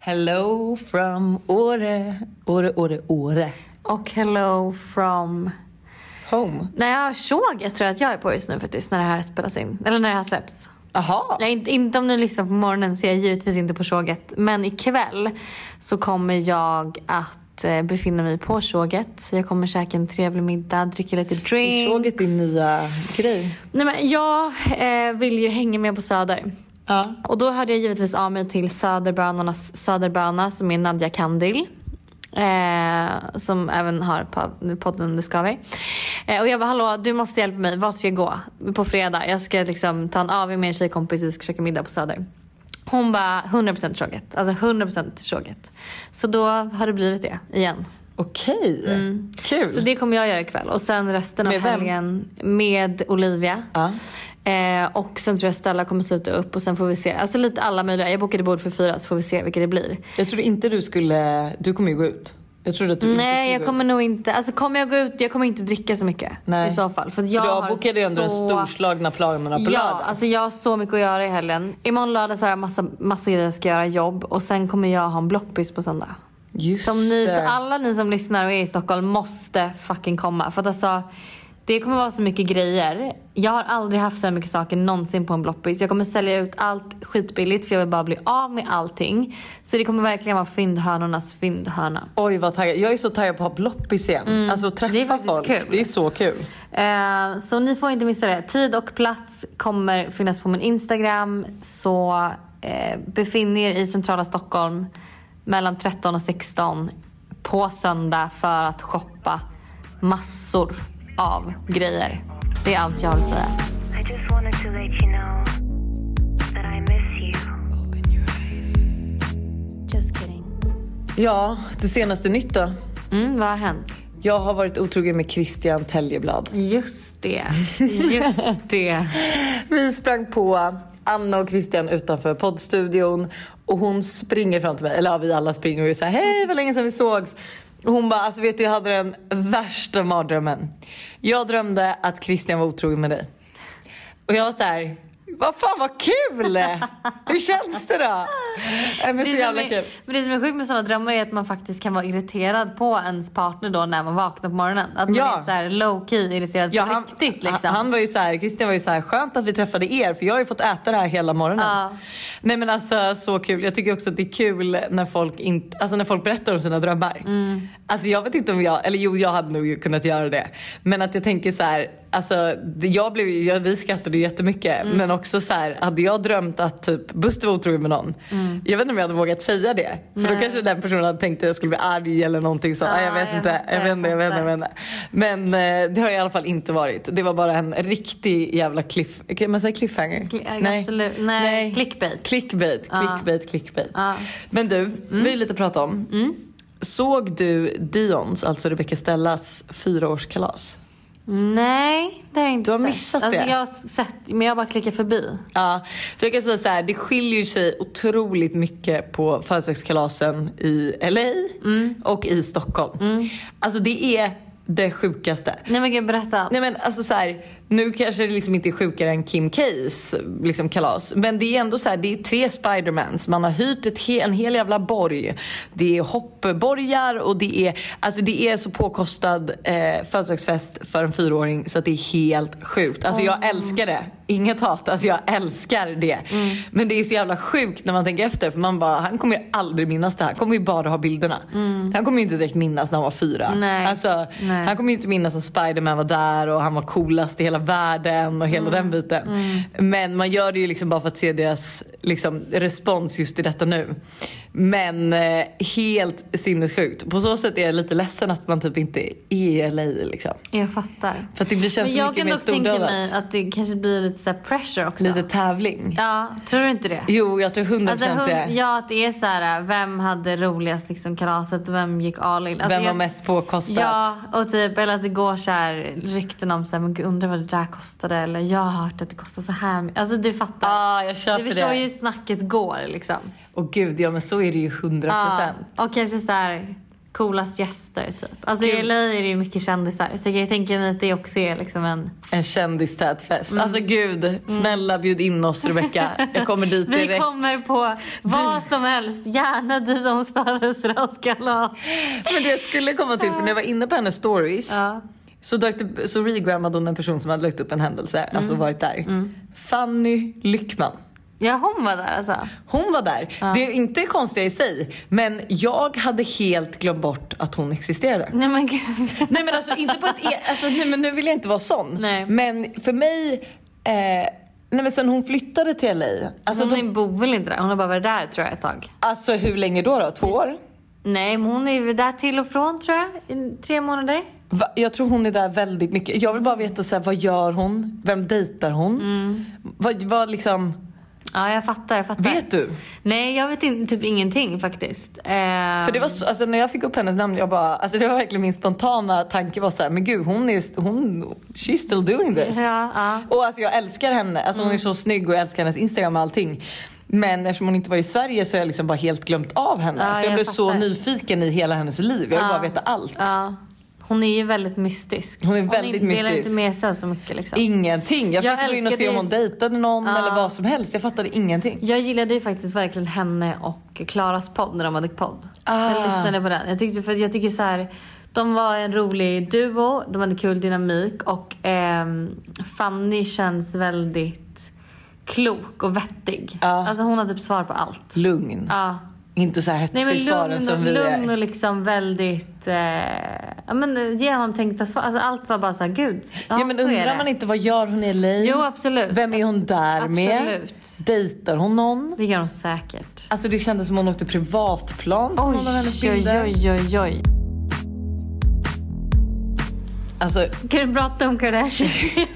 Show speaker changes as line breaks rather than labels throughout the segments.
Hello from Åre, Åre, Åre, Åre.
Och hello from...
Home.
Nej, jag såg jag tror jag att jag är på just nu faktiskt när det här spelas in. Eller när det här släpps.
Aha.
Nej, inte, inte om ni lyssnar på morgonen så är jag givetvis inte på tjoget. Men ikväll så kommer jag att eh, befinna mig på tjoget. Jag kommer käka en trevlig middag, dricka lite
Vi
drink.
såg att din nya grej.
Nej, men jag eh, vill ju hänga med på Söder.
Ja.
Och då hörde jag givetvis av mig till Söderbönornas Söderböna som är Nadja Kandil. Eh, som även har pod- podden Det Skaver. Eh, och jag bara hallå du måste hjälpa mig, vart ska jag gå? På fredag, jag ska liksom ta en AW med en tjejkompis och vi ska käka middag på Söder. Hon bara 100% tråkigt, alltså 100% tråkigt. Så då har det blivit det igen.
Okej,
Mm. Så
kul.
det kommer jag göra ikväll och sen resten av
Med vem?
helgen med Olivia.
Ja.
Eh, och sen tror jag Stella kommer sluta upp och sen får vi se. Alltså lite alla möjliga. Jag bokade bord för fyra så får vi se vilka det blir.
Jag trodde inte du skulle, du kommer ju gå ut. Jag trodde att du inte skulle
Nej jag
gå
kommer nog inte, alltså kommer jag gå ut, jag kommer inte dricka så mycket.
Nej.
I så fall. För att
ut.
jag
För
har
jag bokade ju ändå den
så-
storslagna planerna på
Ja,
lördag.
alltså jag har så mycket att göra i helgen. Imorgon lördag så har jag massa, massa grejer jag ska göra, jobb. Och sen kommer jag ha en bloppis på söndag.
Just
Som ni,
det.
alla ni som lyssnar och är i Stockholm måste fucking komma. För att alltså, det kommer vara så mycket grejer. Jag har aldrig haft så här mycket saker någonsin på en bloppis. Jag kommer sälja ut allt skitbilligt för jag vill bara bli av med allting. Så det kommer verkligen vara fyndhörnornas fyndhörna.
Oj vad taggad. Jag är så taggad på att ha bloppis igen. Alltså träffa
Mm. Det är faktiskt
folk.
kul.
Det är så kul.
Eh, så ni får inte missa det. Tid och plats kommer finnas på min Instagram. Så eh, befinn er i centrala Stockholm mellan 13 och 16 på söndag för att shoppa massor av grejer. Det är allt jag har att säga.
I just wanted to let you know that I miss you.
Just kidding.
Ja, det senaste nytt då.
Mm, vad har hänt?
Jag har varit otrogen med Christian Täljeblad.
Just det. Just det.
Vi sprang på Anna och Christian utanför poddstudion och hon springer fram till mig, eller ja, vi alla springer och är så här, hej vad länge sedan vi sågs. Och hon bara, alltså vet du jag hade den värsta mardrömmen. Jag drömde att Christian var otrogen med dig. Och jag var så här, vad fan vad kul! Hur känns det då? Nej, men så
som
jävla
är,
kul.
men det som är sjukt med sådana drömmar är att man faktiskt kan vara irriterad på ens partner då när man vaknar på morgonen. Att man
Ja.
är såhär low key irriterad på riktigt liksom.
han- Han var ju så här, Christian var ju så här, skönt att vi träffade er för jag har ju fått äta det här hela morgonen.
Ja.
Nej men alltså så kul. Jag tycker också att det är kul när folk, inte, alltså, när folk berättar om sina drömmar.
Mm.
Alltså jag vet inte om jag, eller jo jag hade nog ju kunnat göra det. Men att jag tänker så här, alltså det- jag blev, ju- jag, vi skrattade ju jättemycket.
Mm.
Men också så här, hade jag drömt att typ Buster var otrogen med någon.
Mm.
Jag vet inte om jag hade vågat säga det. För då kanske den personen hade tänkt att jag skulle bli arg eller någonting sånt.
Ja,
jag vet
jag
inte,
fattar,
jag vet inte, jag
jag
vet inte.
fattar.
Jag vet inte. Men eh, det har jag i alla fall inte varit. Det var bara en riktig jävla cliff, kan man säga cliffhanger?
Cli- eh, absolut. Ah. Nej, clickbait.
Clickbait, clickbait, clickbait.
Ja.
Men du,
Mm.
vi vill lite prata om. Såg du Dions, alltså Rebecca Stellas fyraårskalas?
Nej, det har jag inte
Du har
sett.
missat
alltså,
det.
Jag har sett, men jag har bara klickat förbi.
Ja, för jag kan säga så här, det skiljer sig otroligt mycket på födelsedagskalasen i LA
Mm.
och i Stockholm. Alltså det är det sjukaste.
Nej men gud, berätta.
Nej men alltså så här, nu kanske det liksom inte är sjukare än Kim K's liksom, kalas. Men det är ändå så här, det är tre Spidermans, man har hyrt ett he- en hel jävla borg. Det är hoppborgar och det är, alltså det är så påkostad eh, födelsedagsfest för en fyraåring så att det är helt sjukt. Alltså jag älskar det. Inget hat, alltså jag älskar det. Men det är så jävla sjukt när man tänker efter för man bara, han kommer ju aldrig minnas det här. Han kommer ju bara ha bilderna. Han kommer ju inte direkt minnas när han var fyra.
Nej.
Alltså,
Nej.
Han kommer ju inte minnas att Spiderman var där och han var coolast i hela världen och
Mm.
hela den biten. Men man gör det ju liksom bara för att se deras liksom, respons just i detta nu. Men eh, helt sinnessjukt. På så sätt är jag lite ledsen att man typ inte är i LA liksom.
Jag fattar.
För att det blir
Men
känns så
jag
mycket
kan
mer
dock tänka mig
stordödat.
att det kanske blir lite så här pressure också.
Lite tävling.
Ja, tror du inte det?
Jo, jag tror 100%
Alltså, hund,
det.
ja, att det är så här, vem hade roligast liksom, kalaset och vem gick all in? Alltså,
Vem var
jag-
mest påkostad?
Ja, och typ, eller att det går så här rykten om så här, men gud, undrar vad det där kostade eller jag har hört att det kostar så här mycket. Alltså du fattar.
Ah, jag köper
du förstår
det.
ju hur snacket går liksom.
Och gud, ja men så är det ju 100%.
Ja, och kanske så här coolast gäster typ. Alltså i LA är det ju mycket kändisar så jag kan ju tänka mig att det också är liksom en...
En kändistät fest.
Mm.
Alltså gud, snälla bjud in oss Rebecca. Jag kommer dit
Vi
direkt.
kommer på vad som helst, gärna Didons födelsedagskalas.
Men det jag skulle komma till, för när jag var inne på hennes stories
Ja.
så, dök det, så regrammade hon en person som hade lagt upp en händelse,
Mm.
alltså varit där. Fanny Lyckman.
ja, hon var där alltså.
Hon var där. Det är inte konstigt i sig, men jag hade helt glömt bort att hon existerade.
Nej men gud.
Nej men alltså inte på ett e- alltså, nej, men nu vill jag inte vara sån.
Nej.
Men för mig, eh, nej men sen hon flyttade till LA, alltså,
Hon
de,
är- bor väl inte där? Hon har bara varit där tror jag ett tag.
alltså hur länge då då? Två år?
Nej men hon är ju där till och från tror jag, i tre månader.
Va? Jag tror hon är där väldigt mycket. Jag vill bara veta så här, vad gör hon? Vem dejtar hon?
Mm.
Vad, vad liksom,
Ja jag fattar, jag fattar.
vet du?
Nej jag vet in, typ ingenting faktiskt. Ehm,
För det var så, alltså när jag fick upp hennes namn, jag bara, alltså det var verkligen min spontana tanke var så här, men gud hon är, hon, she's still doing this.
Eh, Ja, Mm. ja.
Och alltså jag älskar henne, alltså hon är så snygg och jag älskar hennes instagram och allting. Men eftersom hon inte var i Sverige så har jag liksom bara helt glömt av henne.
Ja,
så jag,
jag
blev så
fattar.
nyfiken i hela hennes liv, jag vill
Ja.
bara veta allt.
Ja. Hon är ju väldigt mystisk.
Hon är väldigt
inte- delar
mystisk.
inte med sig så mycket liksom.
Ingenting! Jag
Jag
försökte gå in och se
älskar
om
det.
hon dejtade någon
Ja.
eller vad som helst, jag fattade ingenting.
Jag gillade ju faktiskt verkligen henne och Klaras podd när de hade podd.
Ah.
Jag lyssnade på den. Jag, tyckte, för jag tycker så här, de var en rolig duo, de hade kul dynamik och ehm, Fanny känns väldigt klok och vettig.
Ja.
Alltså hon har typ svar på allt.
Lugn,
Ja.
inte så här hetsig
Nej, men
i svaren
lugn,
som
och,
vi
lugn
är.
och liksom väldigt eh, ja, men, genomtänkta svar. Alltså, allt var bara så här, gud. Ja,
Ja men
så är
undrar
det.
man inte vad gör hon i LA?
Jo absolut.
Vem är hon där med?
Absolut.
Dejtar hon någon?
Det gör hon säkert.
Alltså det kändes som hon åkte privatplan på
Oj,
någon av hennes
oj,
bilder.
oj, oj, oj.
Alltså,
Kan du prata om Kardashian?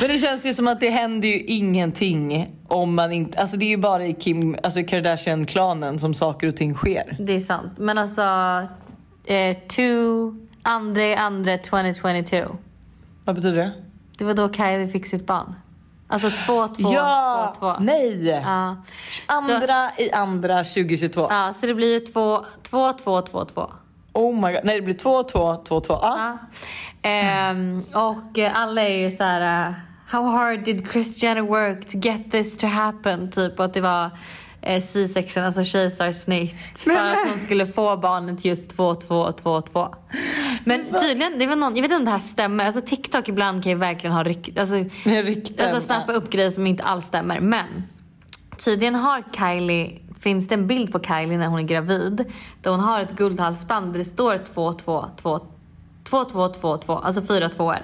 men det känns ju som att det händer ju ingenting om man inte... Alltså det är ju bara i Kim, alltså Kardashian-klanen som saker och ting sker.
det är sant. Men alltså... Eh, two, andre, andre 2022.
Vad betyder det?
Det var då Kylie fick sitt barn. Alltså två, två,
ja!
två, två.
Nej!
Ja.
Andra i andra 2022.
Ja, så det blir ju två, två, två, två, två.
Oh my god. Nej det blir 2, 2, 2, 2. Ja.
Ja. Ehm, och eh, alla är ju så här... eh, How hard did Chris Jenner work to get this to happen? Typ och att det var eh, C-section, alltså kejsarsnitt. För att hon skulle få barnet just 2, 2, 2, 2. Men tydligen, det var någon, jag vet inte om det här stämmer. Alltså TikTok ibland kan ju verkligen ha ryck, alltså,
Med rykten.
alltså snappa upp grejer som inte alls stämmer. Men tydligen har Kylie, finns det en bild på Kylie när hon är gravid där hon har ett guldhalsband där det står 2 2 2 2 2 2 2 alltså fyra tvåor.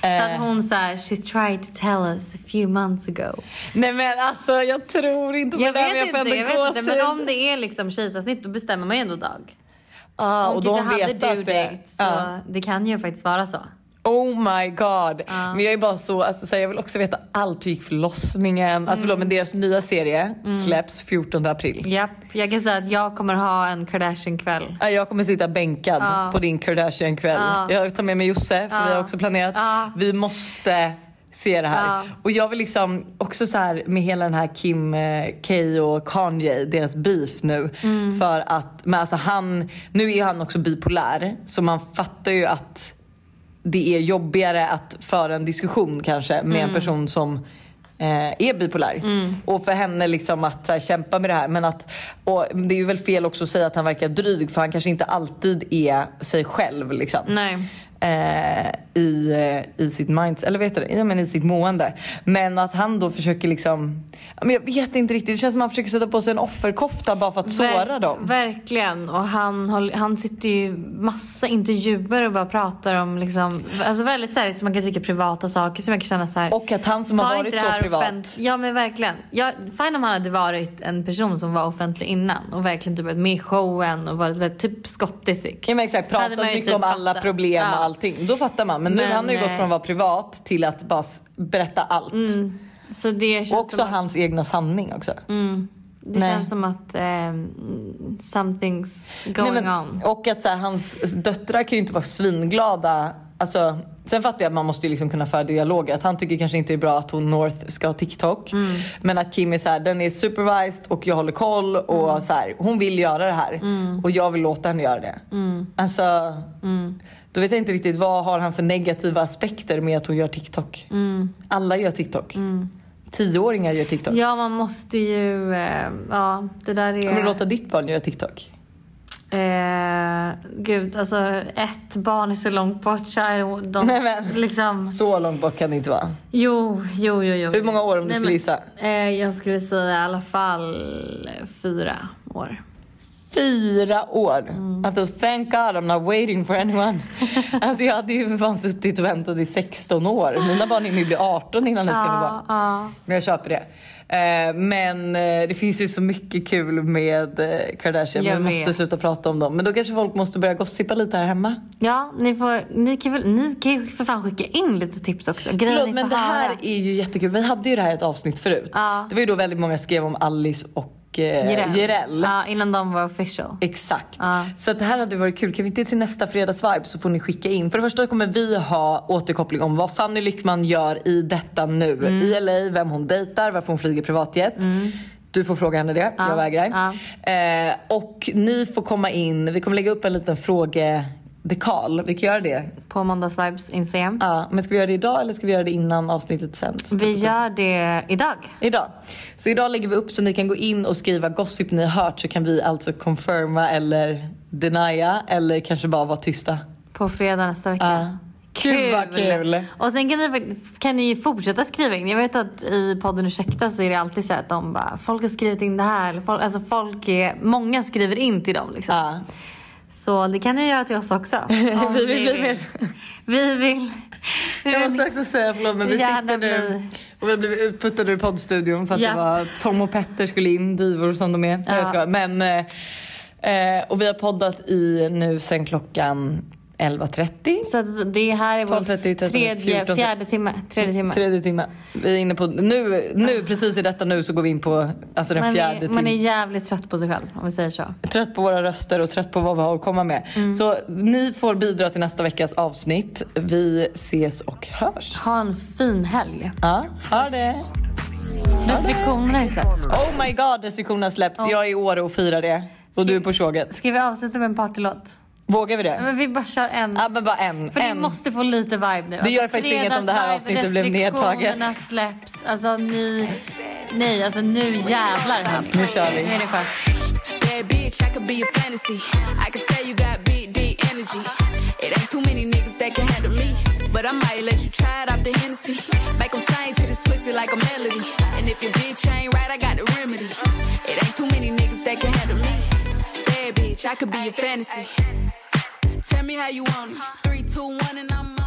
Så
Eh.
att hon såhär, she tried to tell us a few months ago.
Nej men alltså jag tror inte på
Jag
det där, men
vet
får
inte,
ändå
jag vet inte. Men
gåshud.
om det är liksom kejsarsnitt då bestämmer man ju ändå dag.
Ah,
Hon
och då
kanske
har hon
hade
vetat
due
det.
date så
Ja.
det kan ju faktiskt vara så.
Oh my god. Men jag är bara så, alltså, så här, jag vill också veta allt hur gick förlossningen. Alltså förlåt men deras nya serie
Mm.
släpps 14 april.
Japp, jag kan säga att jag kommer ha en Kardashian-kväll.
Äh, Jag kommer sitta bänkad på din Kardashian kväll.
Ja.
Jag tar med mig Josse för vi har också planerat.
Ja.
Vi måste se det här.
Ja.
Och jag vill liksom också så här med hela den här Kim eh, K och Kanye, deras beef nu. För att, men alltså han, nu är ju han också bipolär så man fattar ju att det är jobbigare att föra en diskussion kanske med en person som eh, är bipolär. Och för henne liksom att så här, kämpa med det här. Men att, och det är ju väl fel också att säga att han verkar dryg för han kanske inte alltid är sig själv. Liksom
Nej.
eh, i, eh, i sitt mindset, eller vet du det? ja, men i sitt mående. Men att han då försöker liksom, ja, men jag vet inte riktigt, det känns som att han försöker sätta på sig en offerkofta bara för att såra
Ver-
dem.
Verkligen. Och han, håll- han sitter ju massa intervjuer och bara pratar om liksom, alltså väldigt så här, som man kan tycka privata saker som jag kan känna så här.
Och att han som har
ta inte
varit
det
så
här
privat.
offent- Ja men verkligen. Jag, fine om han hade varit en person som var offentlig innan och verkligen typ varit med i showen och varit väldigt typ skottisig.
Ja, men exakt, pratat
Hade man ju
mycket
typ
om alla
fattat.
problem
Ja.
och allting. Då fattar man. Men, nu
Men,
han har ju gått
eh, Mm.
från att vara privat till att bara s- berätta allt.
Så det känns
och också
som,
hans egna sanning också.
det
nej.
känns som att ehm, something's going
Nej, men-
on.
Och att så här, hans döttrar kan ju inte vara svinglada Alltså, sen fattar jag att man måste ju liksom kunna föra dialoger. Att han tycker kanske inte det är bra att hon North ska ha TikTok.
Mm.
Men att Kim är så här, den är supervised och jag håller koll. Och
Mm.
så här, hon vill göra det här och jag vill låta henne göra det.
Mm.
Alltså, Då vet jag inte riktigt vad har han för negativa aspekter med att hon gör TikTok. Alla gör TikTok. Tioåringar gör TikTok.
Mm. Ja, man måste ju... Eh, ja, det där är...
Kommer du låta ditt barn göra TikTok?
Eh, gud, alltså ett barn är så långt bort så är de
Nej, men.
liksom...
Så långt bort kan det inte vara.
Jo, jo, jo, jo.
Hur många år om du
Nej,
skulle
men,
gissa?
Eh, jag skulle säga i alla fall fyra år.
fyra år.
Mm.
Alltså, thank God I'm not waiting for anyone. alltså, jag hade ju för fan suttit och väntat i 16 år. Mina barn hinner ju bli 18 innan det ska bli barn.
ja.
Men jag köper det. Eh, Men eh, det finns ju så mycket kul med eh, Kardashian.
Jag
men vi måste
vet.
sluta prata om dem. Men då kanske folk måste börja gossipa lite här hemma.
Ja, ni, får, ni, kan väl, ni kan ju för fan skicka in lite tips också. Grejer
Förlåt,
ni
men
får
det här
höra.
är ju jättekul. Vi hade ju det här i ett avsnitt förut.
Ja.
Det var ju då väldigt många skrev om Alice och eh, Jireel.
Ja, innan de var official.
Exakt.
Ja.
Så att det här hade varit kul. Kan vi inte till nästa fredags vibe så får ni skicka in. För det första kommer vi ha återkoppling om vad Fanny Lyckman gör i detta nu. I LA, vem hon dejtar, varför hon flyger privatjet. Du får fråga henne det, jag vägrar. Eh, och ni får komma in, vi kommer lägga upp en liten frågedekal. Vi kan göra det.
På Måndagsvibes Instagram.
Ja, men ska vi göra det idag eller ska vi göra det innan avsnittet sänds?
Vi gör det idag.
Idag. Så idag lägger vi upp så ni kan gå in och skriva gossip ni har hört så kan vi alltså confirma eller denia eller kanske bara vara tysta.
På fredag nästa vecka.
Ja. Gud, vad kul.
Och sen kan ni, kan ni ju fortsätta skriva in. Jag vet att i podden Ursäkta så är det alltid så att de bara, folk har skrivit in det här. Eller folk, alltså folk är, många skriver in till dem liksom.
Ja.
Så det kan ni göra till oss också. om
Vi vill bli
ni vill.
mer-
Vi vill. Vi
Jag
vill-
måste också säga förlåt men vi
Gärna
sitter nu
bli.
och vi blev utputtade ur poddstudion för att
Ja.
det var Tom och Petter skulle in, divor som de är. Nej, Jag
Ja.
skojar. Men, eh, eh, och vi har poddat i nu sen klockan 11.30.
Så att det här är
12,
vår
30, 13,
tredje,
14.
fjärde timme. Tredje timme.
Tredje timme. Vi är inne på, nu, nu precis i detta nu så går vi in på alltså den
Man
fjärde
är,
timmen.
man är jävligt trött på sig själv om vi säger så.
trött på våra röster och trött på vad vi har att komma med.
Mm.
Så ni får bidra till nästa veckas avsnitt. Vi ses och hörs.
Ha en fin helg.
Ja, ha det.
Restriktioner har ju släppts.
Oh my god, restriktionerna släpps. Jag är i Åre och firar det. Och du är på tjoget.
Ska vi avsluta med en partylåt?
Vågar vi det?
Men vi bara kör en.
Ja, men bara en.
För
en.
ni måste få lite vibe nu.
Det gör faktiskt inget om det här
Fredagsvibe,
avsnittet blev nedtaget.
restriktionerna släpps. Alltså ni... Nej, alltså nu jävlar hörni.
Nu kör vi.
Nu är det skönt.
Bad bitch, I could be a fantasy. I could tell you got big D energy. It ain't too many niggas that can handle me. But I might let you try it off the Hennessy. Make 'em sing to this pussy like a melody. And if your bitch ain't right, I got the remedy. It ain't too many niggas that can handle me. Bad bitch, I could be a fantasy. Tell me how you want it. Three, two, one, and I'm.